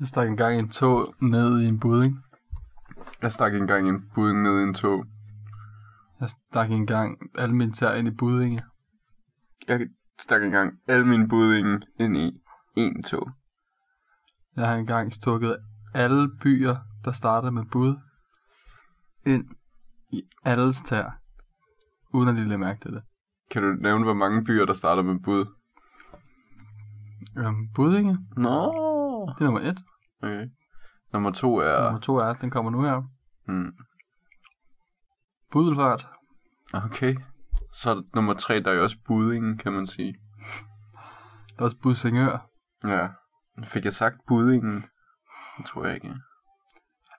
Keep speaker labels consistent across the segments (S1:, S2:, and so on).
S1: Jeg stak engang en tog ned i en budding.
S2: Jeg stak engang en budding ned i en tog.
S1: Jeg stak engang alle mine tær ind i buddinge.
S2: Jeg stak engang alle mine buddinge ind i en tog.
S1: Jeg har engang stukket alle byer, der starter med bud, ind i alles tær, uden at de lagde mærke til det.
S2: Kan du nævne, hvor mange byer, der starter med bud?
S1: Øhm, buddinge,
S2: Nå.
S1: det er nummer et.
S2: Okay. Nummer to
S1: Ja.
S2: er...
S1: Nummer to er, den kommer nu her.
S2: Hmm.
S1: Budelfart.
S2: Okay. Så er der nummer tre, der er jo også buddingen, kan man sige.
S1: Der er også budsingør.
S2: Ja. Fik jeg sagt buddingen? Det tror jeg ikke.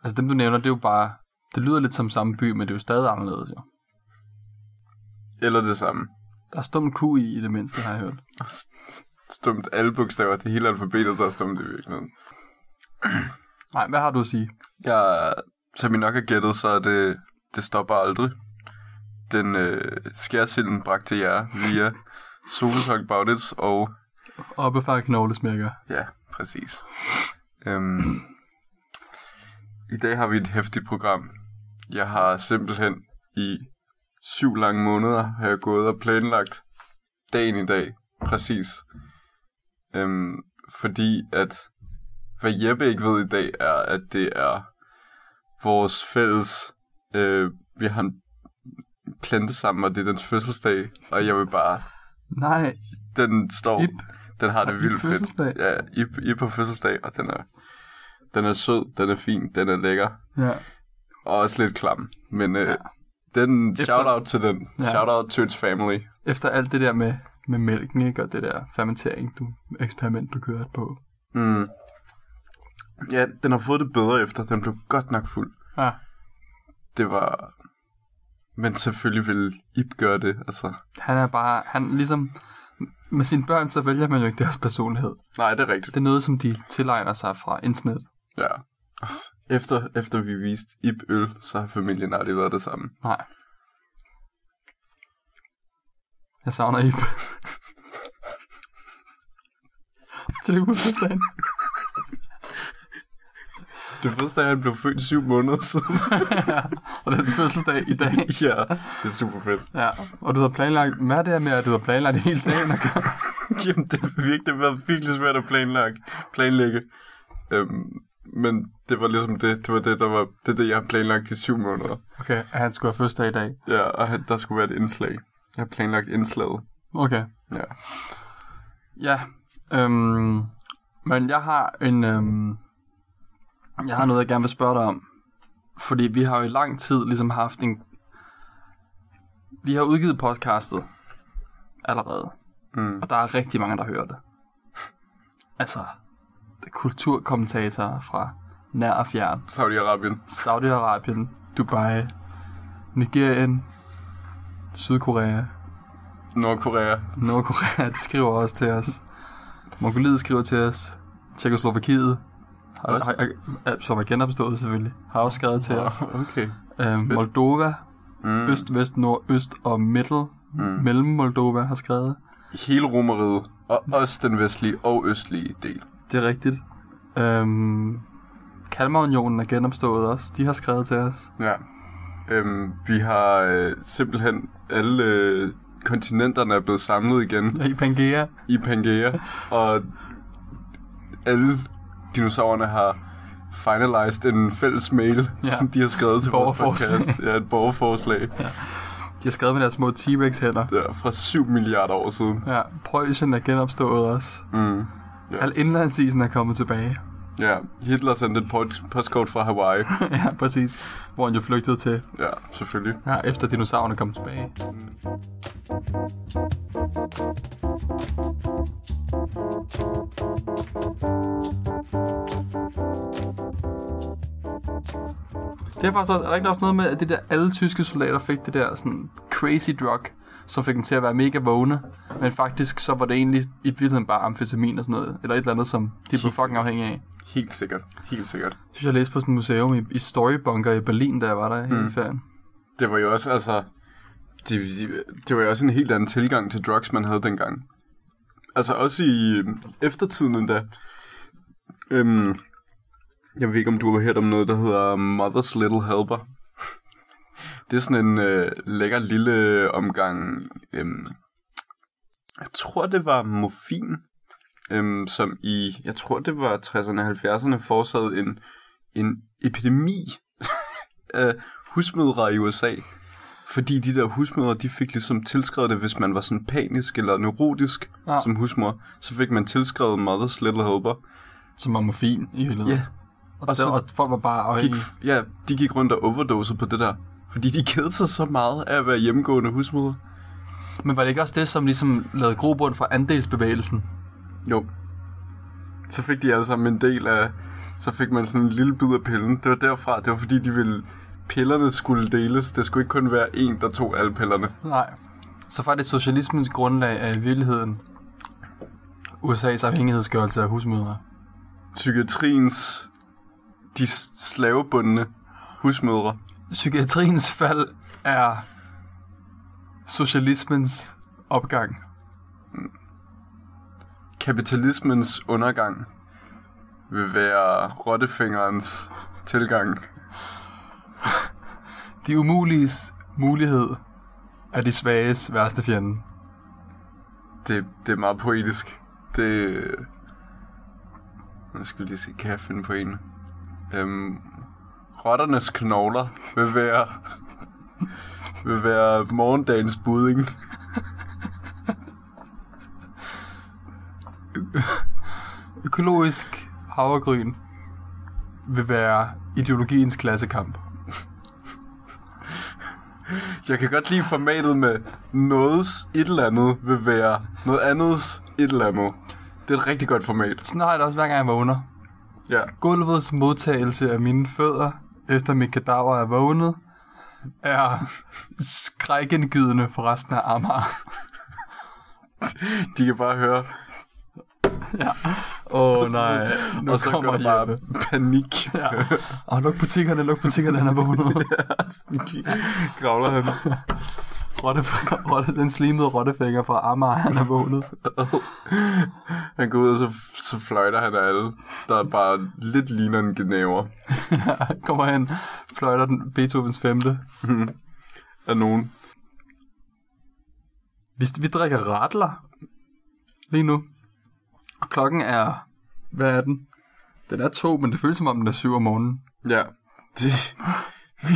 S1: Altså dem, du nævner, det er jo bare... Det lyder lidt som samme by, men det er jo stadig anderledes, jo.
S2: Eller det samme.
S1: Der er stum Q i, i det mindste, har jeg hørt.
S2: Stumt alle bogstaver. Det hele alfabetet, der er stumt i virkeligheden.
S1: Nej, hvad har du at sige?
S2: Jeg, som I nok har gættet, så er det, det stopper aldrig. Den øh, skærsilden bragte jer via Solsok Baudits og...
S1: Oppe fra knoglesmækker.
S2: Ja, præcis. Øhm, I dag har vi et hæftigt program. Jeg har simpelthen i syv lange måneder har jeg gået og planlagt dagen i dag. Præcis. Øhm, fordi at hvad Jeppe ikke ved i dag er, at det er vores fælles... Øh, vi har en plante sammen, og det er dens fødselsdag. Og jeg vil bare...
S1: Nej,
S2: Den står...
S1: Ip.
S2: Den har
S1: Har
S2: det
S1: Ip
S2: vildt
S1: fødselsdag?
S2: fedt. Ja, Ip, Ip har fødselsdag, og den er, den er sød, den er fin, den er lækker.
S1: ja.
S2: Og også lidt klam. Men øh, den,
S1: Efter-
S2: shout-out til den.
S1: Ja.
S2: Shout-out to its family.
S1: Efter alt det der med, med mælken, ikke? Og det der fermentering, du, eksperiment, du kørte på.
S2: Mm. Ja, den har fået det bedre efter. Den blev godt nok fuld.
S1: Ja,
S2: Det var... Men selvfølgelig ville Ip gøre det, altså.
S1: han er bare, han ligesom, med sine børn, så vælger man jo ikke deres personlighed.
S2: Nej, det er rigtigt.
S1: Det er noget, som de tilegner sig fra internet.
S2: Ja. Efter, efter vi viste Ip øl, så har familien aldrig været det samme.
S1: Nej. Jeg savner Ip. Tillykke med fødselsdagen.
S2: Det første er, at han blev født syv måneder siden.
S1: Og det er hans fødselsdag i dag.
S2: ja, det er super fedt.
S1: Ja, og du har planlagt, hvad er det her med, at du har planlagt hele dagen at gøre?
S2: Jamen, det, er virkelig, det var virkelig svært at planlægge. planlægge. Øhm, men det var ligesom det, det var det, der var, det, er det jeg har planlagt i syv måneder.
S1: Okay, at han skulle have fødselsdag i dag.
S2: Ja, og han- der skulle være et indslag. Jeg har planlagt indslaget.
S1: Okay,
S2: Ja.
S1: ja. Øhm, men jeg har en... Øhm, jeg har noget, jeg gerne vil spørge dig om. Fordi vi har jo i lang tid ligesom haft en... Vi har udgivet podcastet allerede.
S2: Mm.
S1: Og der er rigtig mange, der hører det. Altså, det er kulturkommentatorer fra nær og fjern.
S2: Saudi-Arabien.
S1: Saudi-Arabien, Dubai, Nigerien, Sydkorea,
S2: Nordkorea.
S1: Nordkorea, de skriver også til os. Mongoliet skriver til os. Tjekoslovakiet, har,
S2: Også?
S1: har, har, som er genopstået selvfølgelig, har også skrevet til os.
S2: Okay.
S1: Øhm, Moldova,
S2: Mm.
S1: øst, vest, nord, øst og middel,
S2: Mm.
S1: mellem Moldova har skrevet.
S2: Hele Romeriet, og også den vestlige og østlige del.
S1: Det er rigtigt. Øhm, Kalmarunionen er genopstået også. De har skrevet til os.
S2: Ja. Øhm, vi har øh, simpelthen alle øh, kontinenterne er blevet samlet igen
S1: I Pangea.
S2: i Pangea, og alle dinosaurerne har finalized en fælles mail,
S1: Ja.
S2: ja. som de har skrevet til vores
S1: Borgerforslag.
S2: podcast. Ja, et borgerforslag
S1: De har skrevet med deres små T-Rex hænder.
S2: ja, fra 7 milliarder år siden.
S1: Ja, Preussen er genopstået også.
S2: Mm.
S1: Ja. Al indlandsisen er kommet tilbage.
S2: Ja, Hitler sendte et post- postkort fra Hawaii.
S1: ja, præcis. Hvor han jo flygtede til,
S2: Ja, selvfølgelig.
S1: ja, efter dinosaurerne kom tilbage. Det er faktisk også, er der ikke også noget med, at det der, alle tyske soldater fik det der sådan crazy drug, som fik dem til at være mega vågne, men faktisk så var det egentlig i virkeligheden bare amfetamin og sådan noget, eller et eller andet, som de blev fucking afhængige af
S2: Helt sikkert. Helt sikkert.
S1: synes, jeg læste på sådan et museum i, i Storybunker i Berlin, da jeg var der mm. i ferien.
S2: Det var jo også, altså... Det, det- det var jo også en helt anden tilgang til drugs, man havde dengang. Altså også i øh, eftertiden endda. Øhm, Jeg ved ikke, om du har hørt om noget, der hedder Mother's Little Helper. Det er sådan en øh, lækker lille omgang. Øhm, jeg tror, det var morfin, øhm, som i, jeg tror, det var 60'erne og 70'erne, forårsagede en, en epidemi af husmødre i USA. Fordi de der husmødre, de fik ligesom tilskrevet det, hvis man var sådan panisk eller neurotisk
S1: Ja.
S2: ja. som husmor, så fik man tilskrevet Mother's Little Helper.
S1: Som var morfin i hele
S2: Ja,
S1: Og, så,
S2: så
S1: og folk var bare
S2: gik,
S1: afhængige.
S2: ja, de gik rundt og overdosede på det der. Fordi de kedede sig så meget af at være hjemmegående husmødre.
S1: Men var det ikke også det, som ligesom lavede grobund for andelsbevægelsen?
S2: Jo. Så fik de alle sammen en del af... Så fik man sådan en lille bid af pillen. Det var derfra. Det var fordi, de ville... Pillerne skulle deles. Det skulle ikke kun være en, der tog alle pillerne.
S1: Nej. Så faktisk socialismens grundlag er i virkeligheden USA's afhængighedsgørelse af husmødre.
S2: Psykiatriens... De slavebundne husmødre.
S1: Psykiatriens fald er socialismens opgang.
S2: Kapitalismens undergang vil være rottefingerens tilgang.
S1: De umuliges mulighed er de svages værste fjende.
S2: Det, det er meget poetisk. Det... Nu skal jeg lige se, kan jeg finde på en? Øhm, rotternes knogler vil være... vil være morgendagens budding.
S1: Økologisk havregryn vil være ideologiens klassekamp.
S2: Jeg kan godt lide formatet med nogens et eller andet vil være noget andets et eller andet. Det er et rigtig godt format.
S1: Sådan har jeg det også hver gang jeg vågner.
S2: Ja.
S1: Gulvets modtagelse af mine fødder, efter mit kadaver er vågnet, er skrækindgydende for resten af Amager.
S2: De kan bare høre,
S1: Åh oh, nej, nu
S2: og så går
S1: kommer
S2: der bare
S1: Jeppe.
S2: panik.
S1: Ja. Og luk butikkerne, luk butikkerne, han er vågnet.
S2: Gravler han.
S1: Rotte, rotte, den slimede rottefænger fra Amager, han er vågnet.
S2: Han går ud, og så, så fløjter han af alle, der bare lidt ligner en genaver
S1: Han kommer hen, fløjter den Beethovens femte.
S2: af nogen.
S1: Vi, vi drikker radler lige nu. Og klokken er, hvad er den? Den er to, men det føles som om den er syv om morgenen.
S2: Ja, det, vi,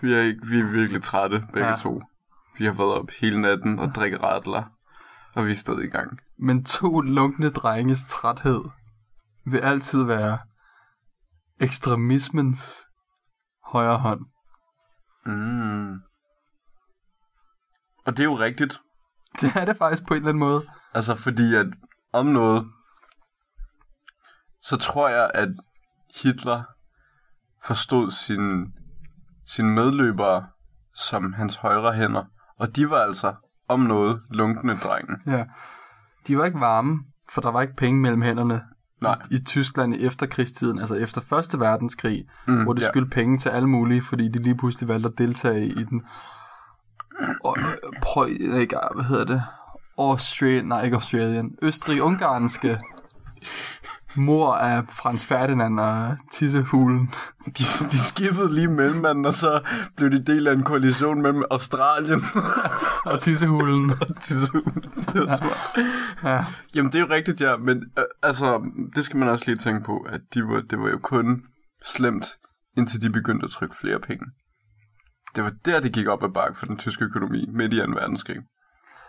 S2: vi, er, ikke- vi er virkelig trætte, begge
S1: Ja.
S2: ja. to. Vi har været op hele natten og drikker radler, og vi er stadig i gang.
S1: Men to lunkne drenges træthed vil altid være ekstremismens højre hånd.
S2: Mm. Og det er jo rigtigt,
S1: Det er det faktisk på en eller anden måde.
S2: altså fordi at om noget, så tror jeg, at Hitler forstod sin, sine medløbere som hans højre hænder, og de var altså om noget lunkende drenge.
S1: Ja. De var ikke varme, for der var ikke penge mellem hænderne.
S2: Nej.
S1: I, I Tyskland i efterkrigstiden, altså efter Første Verdenskrig, mm,
S2: Mm,
S1: hvor de ja.
S2: ja.
S1: skyldte penge til alle mulige, fordi de lige pludselig valgte at deltage i den. Og, øh, prøv, ikke, ah, hvad hedder det? Australian, nej ikke Australian. Østrig-ungarske mor af Frans Ferdinand og Tissehulen.
S2: De, de skippede lige mellemmanden, og så blev de del af en koalition mellem Australien
S1: Og Tissehulen.
S2: og Tissehulen. Det var smart.
S1: Ja.
S2: Jamen, det er jo rigtigt, ja, men øh, altså, det skal man også lige tænke på, at de var, det var jo kun slemt, indtil de begyndte at trykke flere penge. Det var der, det gik op ad bakke for den tyske økonomi midt i 2. verdenskrig.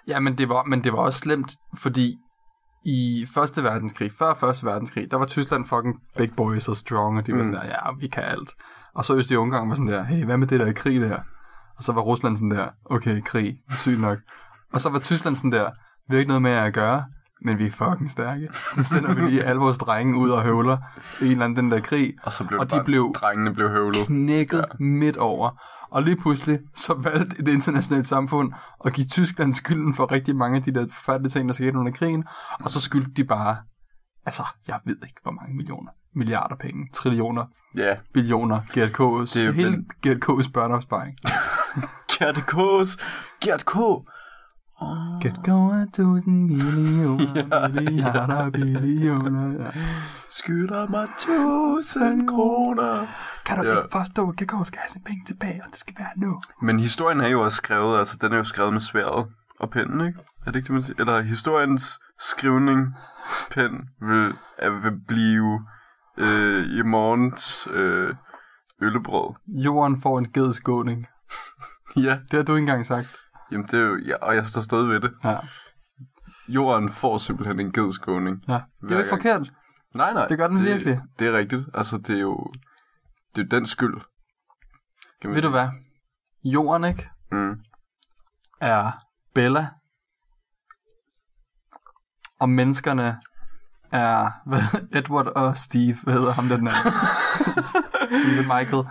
S1: Ja, men det, var, men det var også slemt, fordi i Første Verdenskrig, før Første Verdenskrig, der var Tyskland fucking big boys og strong, og de var sådan der, ja, vi kan alt. Og så Østrig Ungarn var sådan der, hey, hvad med det der krig der? Og så var Rusland sådan der, okay, krig, sygt nok. og så var Tyskland sådan der, vi har ikke noget med jer at gøre, men vi er fucking stærke. Så nu sender vi lige alle vores drenge ud og høvler i en eller anden den der krig.
S2: Og så blev
S1: og
S2: og
S1: de
S2: det bare,
S1: blev
S2: blev... drengene blev høvlet.
S1: knækket ja. midt over. Og lige pludselig, så valgte et internationalt samfund at give Tyskland skylden for rigtig mange af de der forfærdelige ting, der skete under krigen. Og så skyldte de bare, altså, jeg ved ikke, hvor mange millioner, milliarder penge, trillioner,
S2: Ja,
S1: billioner, Gert K's, det
S2: Det er jo Ah.
S1: hele
S2: den-
S1: Gert K's børneopsparing.
S2: Gert K's. Gert K.
S1: Gert K er tusind millioner, milliarder, billioner. Ja.
S2: skylder mig 1000 kroner.
S1: Kan du
S2: Ja.
S1: ja. ikke forstå, at Gekko skal have sine penge tilbage, og det skal være nu?
S2: Men historien er jo også skrevet, altså den er jo skrevet med sværet og pennen, ikke? Er det ikke det, man siger? Eller historiens skrivningspen vil, er, vil blive øh, i morgens øh, øllebrød.
S1: Jorden får en gedskåning.
S2: Ja,
S1: Det har du ikke engang sagt.
S2: jamen det er jo, ja, og jeg står stadig ved det.
S1: Ja.
S2: Jorden får simpelthen en gedskåning.
S1: ja. Det er
S2: Hver
S1: jo ikke
S2: gang.
S1: forkert.
S2: Nej, nej.
S1: Det gør den
S2: det,
S1: virkelig.
S2: Det er rigtigt. Altså, det er jo, det er jo den skyld. Kan man
S1: Ved du
S2: sige.
S1: hvad? Jorden, ikke?
S2: Mm.
S1: er Bella. Og menneskerne er hvad, Edward og Steve, hvad hedder ham der den anden? Steve Michael.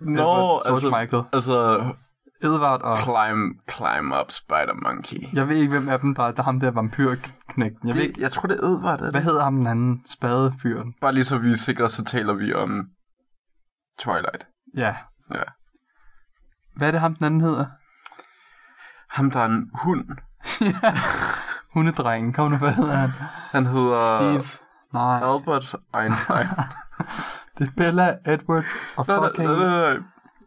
S2: Nå,
S1: Edward, George
S2: altså,
S1: Michael.
S2: altså,
S1: Edward og...
S2: climb, climb up, spider monkey.
S1: Jeg ved ikke, hvem af dem, der er, der er ham der vampyrknægten. Jeg ved
S2: Det,
S1: ikke,
S2: jeg tror, det er Edvard. Er
S1: hvad
S2: det?
S1: hedder ham den anden spadefyren?
S2: Bare lige så vi er sikre, så taler vi om Twilight.
S1: Ja.
S2: Ja.
S1: Hvad er det ham den anden hedder?
S2: Ham, der er en hund.
S1: Hundedrengen. Kom nu, hvad hedder han?
S2: Han hedder
S1: Steve. Nej,
S2: Albert Einstein.
S1: det er Bella, Edward og
S2: nej, nej, nej,
S1: fucking
S2: nej, nej.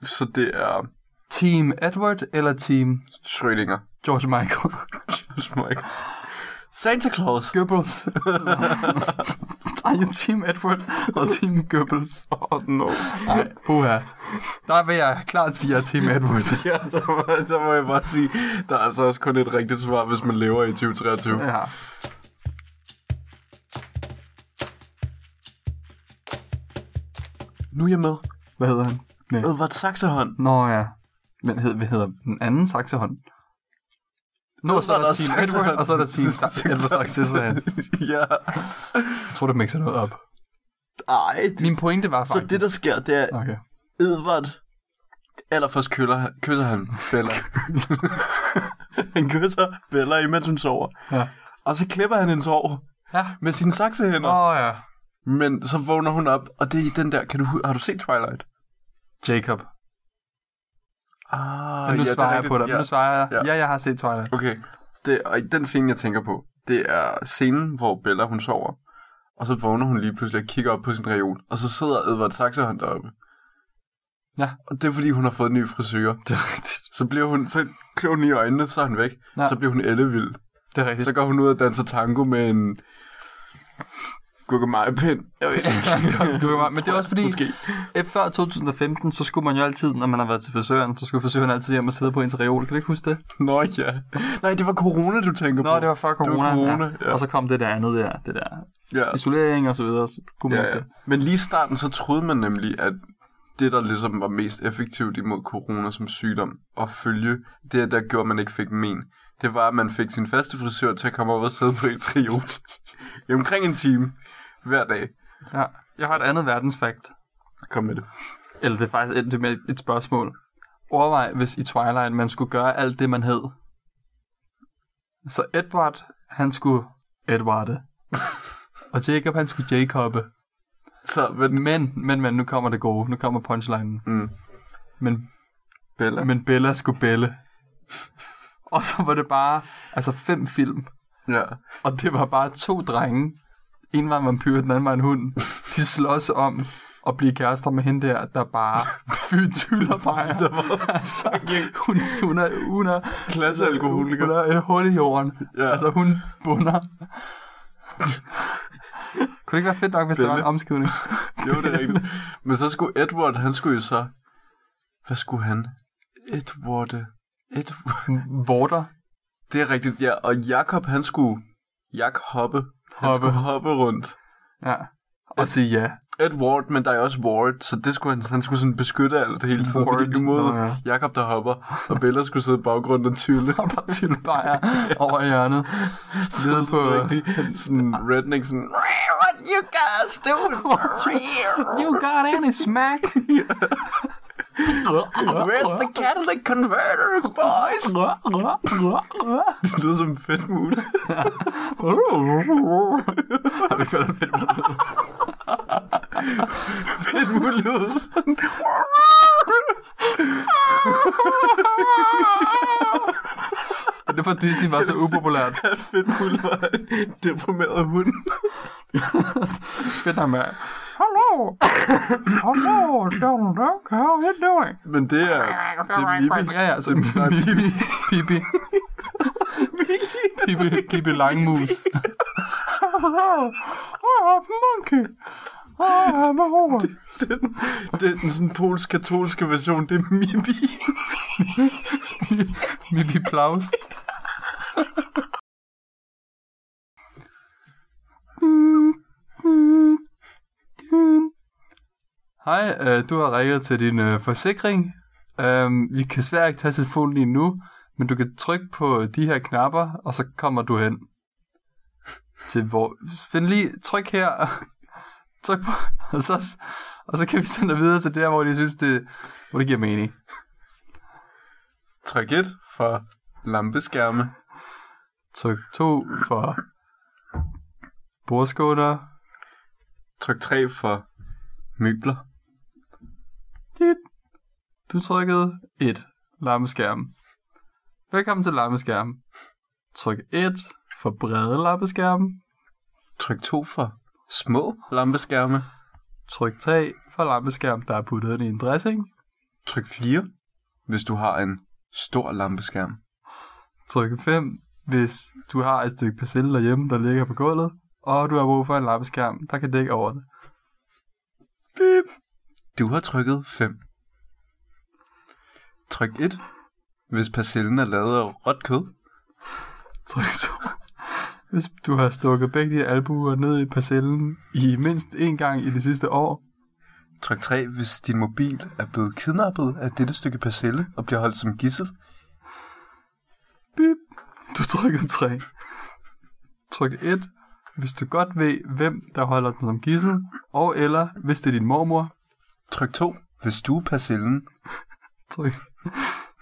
S2: Så det er
S1: Team Edward eller Team
S2: Schrödinger.
S1: George Michael?
S2: George Michael. Santa Claus.
S1: Goebbels. Der er jo Team Edward og Team Goebbels.
S2: Oh, no.
S1: Nej, puha. Der vil jeg klart sige, at jeg er Team Edward.
S2: Ja, så må, så må jeg bare sige, der er altså også kun et rigtigt svar, hvis man lever i 2023.
S1: Ja.
S2: Nu er jeg med.
S1: Hvad hedder han? Nej.
S2: Edvard Saxehånd.
S1: Nå ja. Men hed, hvad hedder den anden saxehånd? Nå, så er der Team Edward, og så er der Team Sa- Edward Saxehånd.
S2: ja.
S1: Jeg tror, du mixer noget op.
S2: Ej, det,
S1: Min pointe var faktisk...
S2: så det, der sker, det er,
S1: Okay.
S2: Edvard allerførst køller, han- kysser han Bella. han kysser Bella, imens hun sover.
S1: Ja.
S2: Og så klipper han hendes hår
S1: Ja.
S2: med sine saksehænder.
S1: Åh
S2: Oh.
S1: oh, ja.
S2: Men så vågner hun op, og det er i den der... Kan du, hu- har du set Twilight?
S1: Jacob.
S2: Ah,
S1: Men nu
S2: det er
S1: svarer jeg
S2: rigtigt.
S1: på dig. Men
S2: Ja.
S1: Nu svarer jeg...
S2: Ja.
S1: Ja, jeg har set Twilight.
S2: Okay, det, og i den scene, jeg tænker på, det er scenen, hvor Bella hun sover. Og så vågner hun lige pludselig og kigger op på sin reol. Og så sidder Edvard Saxehånd deroppe.
S1: Ja.
S2: Og det er fordi, hun har fået en ny frisyr.
S1: Det er rigtigt.
S2: Så bliver hun, så klør hun i øjnene, så er han væk.
S1: Ja.
S2: Ja. Så bliver hun ellevild.
S1: Det er rigtigt.
S2: Så går hun ud og danser tango med en gurkemejepind. Jeg ved ikke.
S1: Gurkemeje- men det er også fordi-
S2: Måske.
S1: Eh, Før 2015, så skulle man jo altid, når man har været til frisøren, så skulle frisøren altid hjem og sidde på ens reol. Kan du ikke huske det?
S2: Nå ja. Nej, det var corona, du tænker på.
S1: Nå, det var før
S2: var
S1: corona.
S2: corona, ja.
S1: Og så kom det der andet der, det der
S2: ja.
S1: isolering og så videre, så kunne man
S2: Ja, ja.
S1: det.
S2: Men lige i starten, så troede man nemlig, at det, der ligesom var mest effektivt imod corona som sygdom og følge, det der gjorde, at man ikke fik men, det var, at man fik sin faste frisør til at komme op og sidde på et reol i omkring en time hver dag.
S1: Ja. Jeg har et andet verdensfakt.
S2: Kom med det.
S1: Eller det er faktisk et, det er med et spørgsmål. Overvej, hvis i Twilight man skulle gøre alt det, man hed. Så Edward, han skulle Edwarde. og Jacob, han skulle Jacobe.
S2: Så, men,
S1: Men, men, men, nu kommer det gode. Nu kommer punchlinen.
S2: Mm.
S1: Men
S2: Bella.
S1: Men Bella skulle Belle. Og så var det bare, altså fem film.
S2: Ja.
S1: Og det var bare to drenge. En var en vampyr, den anden var en hund. De slås om at blive kærester med hende der, der bare fytyller peger. altså, hun, hun er, hun er,
S2: Klassealkoholiker.
S1: hun er et hul i jorden.
S2: Altså Ja.
S1: Altså, hun bunder. Kunne det ikke være fedt nok, hvis der var en
S2: Belle.
S1: omskrivning?
S2: Jo, det er rigtigt. Men så skulle Edward, han skulle jo så... Hvad skulle han? Edward... øh, Edward...
S1: Vorter.
S2: Det er rigtigt, ja. Og Jakob, han skulle... Jak hoppe. Han
S1: Hoppe.
S2: skulle hoppe rundt.
S1: Ja. Og sige ja.
S2: Edward, men der er også Ward, så det skulle han, han skulle sådan beskytte alt hele tiden.
S1: Ward,
S2: Det gik imod
S1: nå ja.
S2: Jakob, der hopper, og Bella skulle sidde i baggrunden og tylle.
S1: Og bare tyldebajer over i hjørnet. Nede på...
S2: Rigtig sådan redneck, sådan... What you guys doing?
S1: You got any smack?
S2: Where's the catalytic converter, boys? Det lyder som en fedt mule.
S1: Jeg ved ikke, hvad der er fedt med det.
S2: fedt mule lyder sådan.
S1: Men Det er for Disney var så upopulært.
S2: Fedt mule var en deprimeret hund.
S1: Fedt ham af. Hello! Hello, Donald Duck, how are you doing?
S2: Men det er... Det er Vibi.
S1: Ja, ja, så
S2: Det er
S1: Bibi. Bibi. Bibi, Bibi Langmus. Hello, I have monkey. I have a horse.
S2: Det er den sådan polsk-katolske version. Det er Mibi.
S1: Bibi Plaus. Hej, øh, du har ringet til din øh, forsikring. Øhm, vi kan svært ikke tage telefonen lige nu, men du kan trykke på de her knapper, og så kommer du hen. Til hvor... Find lige... Tryk her. tryk på... Og så, og så kan vi sende dig videre til der, hvor de synes, det, hvor det giver mening.
S2: Træk 1 for lampeskærme.
S1: Tryk 2 for bordskåner.
S2: Tryk 3 for møbler.
S1: Dit. Du trykkede 1. Lammeskærm. Velkommen til lammeskærm. Tryk 1 for brede lammeskærm.
S2: Tryk 2 for små lampeskærme.
S1: Tryk 3 for lammeskærm, der er puttet i en dressing.
S2: Tryk 4, hvis du har en stor lampeskærm.
S1: Tryk 5, hvis du har et stykke persille derhjemme, der ligger på gulvet, og du har brug for en lammeskærm, der kan dække over det.
S2: Bip. Du har trykket 5. Tryk 1, hvis parcellen er lavet af råt kød.
S1: Tryk 2. Hvis du har stukket begge dine albuer ned i parcellen i mindst én gang i det sidste år,
S2: Tryk 3, hvis din mobil er blevet kidnappet af dette stykke parcelle og bliver holdt som gissel.
S1: Bip. Du trykkede 3. Tryk 1, hvis du godt ved, hvem der holder den som gissel, og eller hvis det er din mormor.
S2: Tryk 2, hvis du er parcellen.
S1: Tryk,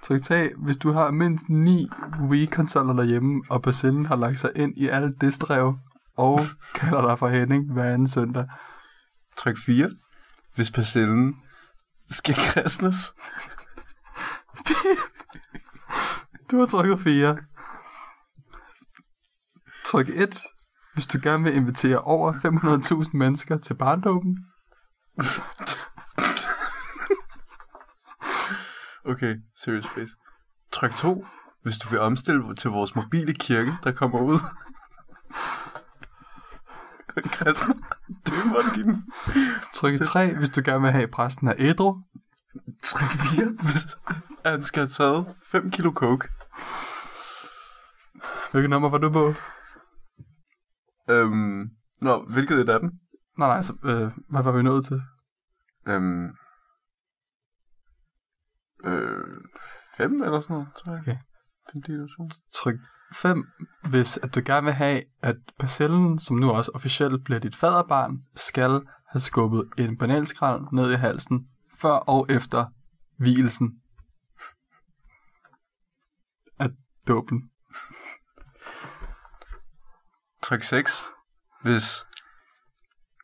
S1: tryk 3, hvis du har mindst 9 Wii-konsoller derhjemme, og patienten har lagt sig ind i alt det strev, og kalder dig for Henning hver anden søndag.
S2: Tryk 4, hvis parcellen skal kristnes.
S1: Du har trykket 4. Tryk 1, hvis du gerne vil invitere over 500.000 mennesker til barndåben.
S2: Okay, serious face. Tryk 2, hvis du vil omstille til vores mobile kirke, der kommer ud. Christian, dømmer din...
S1: Tryk 3, hvis du gerne vil have at præsten af ædru.
S2: Tryk 4, hvis han skal have taget 5 kilo coke.
S1: Hvilket nummer var du på?
S2: Øhm, nå, hvilket et af dem?
S1: Nej, nej, så, øh, hvad var vi nået til?
S2: Øhm, øh, 5 eller sådan noget, tror jeg.
S1: Okay.
S2: 5 kilo coke.
S1: Tryk 5, hvis at du gerne vil have, at parcellen, som nu også officielt bliver dit faderbarn, skal have skubbet en banalskrald ned i halsen, før og efter hvilesen af dåben.
S2: Tryk 6, hvis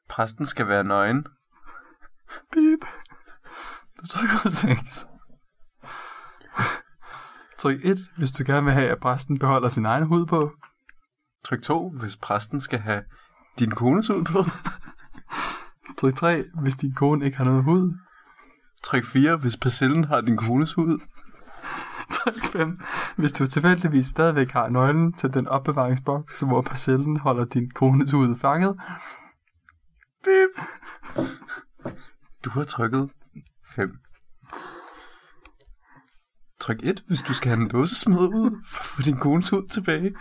S2: præsten skal være nøgen.
S1: Beep. Du trykker 6. Tryk 1, hvis du gerne vil have, at præsten beholder sin egen hud på.
S2: Tryk 2, hvis præsten skal have din kones ud på.
S1: Tryk 3, hvis din kone ikke har noget hud.
S2: Tryk 4, hvis parcellen har din kones hud.
S1: Tryk 5. Hvis du tilfældigvis stadigvæk har nøglen til den opbevaringsboks, hvor parcellen holder din kones hud fanget,
S2: Bip. Du har trykket 5. Tryk 1, hvis du skal have en låsesmed ud, for at få din kones hud tilbage.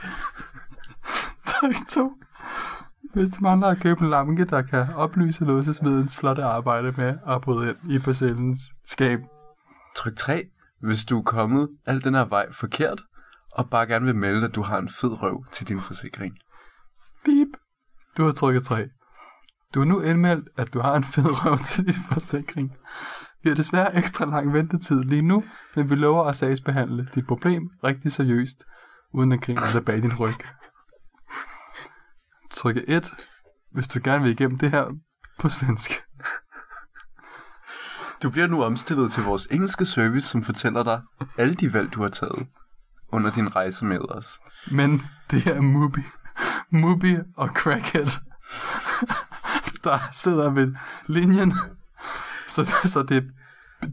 S1: tryk 2. Hvis du mangler at købe en lamke, der kan oplyse låsesmedens flotte arbejde med at bryde ind i parcellens skab.
S2: Tryk 3, hvis du er kommet al den her vej forkert, og bare gerne vil melde, at du har en fed røv til din forsikring.
S1: Beep. Du har trykket 3. Du har nu indmeldt, at du har en fed røv til din forsikring. Vi har desværre ekstra lang ventetid lige nu, men vi lover at sagsbehandle dit problem rigtig seriøst, uden at grine dig bag din ryg. Tryk 1, hvis du gerne vil igennem det her på svensk.
S2: Du bliver nu omstillet til vores engelske service, som fortæller dig alle de valg, du har taget under din rejse med os.
S1: Men det er Mubi. Mubi og Crackhead. der sidder ved linjen. Så, så det,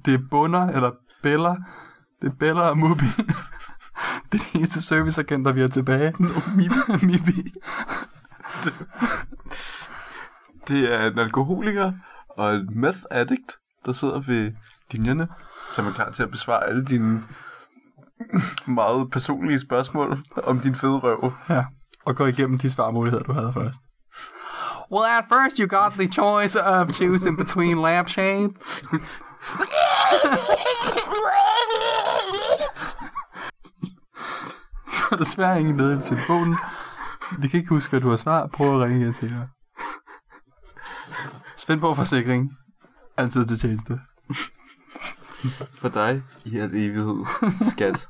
S1: det er Bunder, eller Beller. Det er Beller og Mubi. Det er de eneste serviceagenter, vi har tilbage. No, Mibi. Mibi.
S2: Det er en alkoholiker og en meth addict, der sidder ved linjerne, som er klar til at besvare alle dine meget personlige spørgsmål om din fede røv.
S1: Ja, og gå igennem de svarmuligheder, du havde først. Well, at first you got the choice of choosing between lampshades. Der er desværre ingen nede i telefonen. Vi kan ikke huske, at du har svar. Prøv at ringe igen til dig. Svendborg Forsikring. Altid til tjeneste.
S2: For dig i al evighed, skat.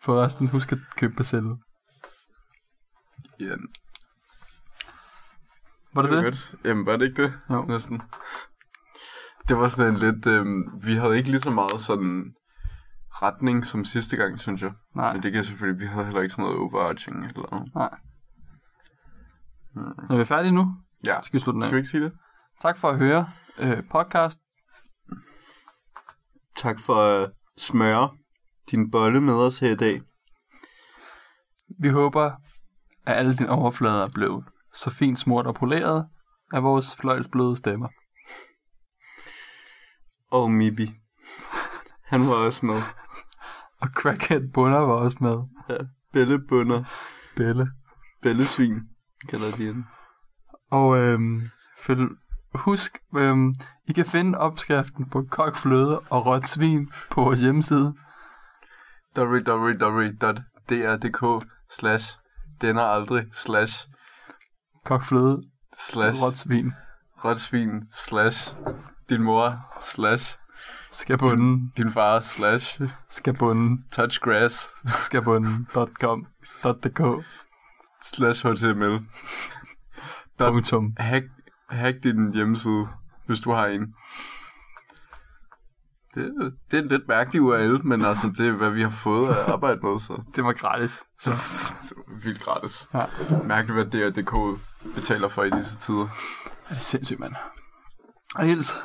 S1: Forresten, husk at købe på selv.
S2: Ja,
S1: Var det det?
S2: Godt. Jamen, var det ikke det?
S1: Jo.
S2: Næsten. Det var sådan en lidt... Øh, vi havde ikke lige så meget sådan retning som sidste gang, synes jeg.
S1: Nej.
S2: Men det kan selvfølgelig... Vi havde heller ikke sådan noget overarching eller noget.
S1: Nej. Når vi er færdige nu,
S2: Ja.
S1: skal vi slutte den
S2: Skal vi
S1: af.
S2: ikke sige det?
S1: Tak for at høre øh, podcast.
S2: Tak for at smøre din bolle med os her i dag.
S1: Vi håber, at alle dine overflader er blevet så fint smurt og poleret af vores fløjsbløde stemmer.
S2: Og Mibi. Han var også med.
S1: Og Crackhead Bunder var også med.
S2: Bællebunder.
S1: Belle.
S2: Bællesvin, kalder de hende.
S1: Og øhm, følg, husk, øhm, I kan finde opskriften på kokfløde og råt svin på vores hjemmeside.
S2: www.dr.dk slash denne aldrig slash
S1: Kokfløde
S2: slash
S1: og råt svin
S2: rotsvin slash din mor slash
S1: skal bunden,
S2: din far slash
S1: skal bunden,
S2: touchgrass
S1: skal bunden, dot com, dot dk,
S2: slash html. Dot,
S1: punktum.
S2: hack, hack din hjemmeside, hvis du har en. Det, det er en lidt mærkelig URL, men altså, det er, hvad vi har fået at arbejde med, så
S1: Det var gratis.
S2: Så det var vildt gratis.
S1: Ja.
S2: Mærkeligt, hvad DRDK betaler for i disse tider.
S1: Det er sindssygt, mand. Og hils.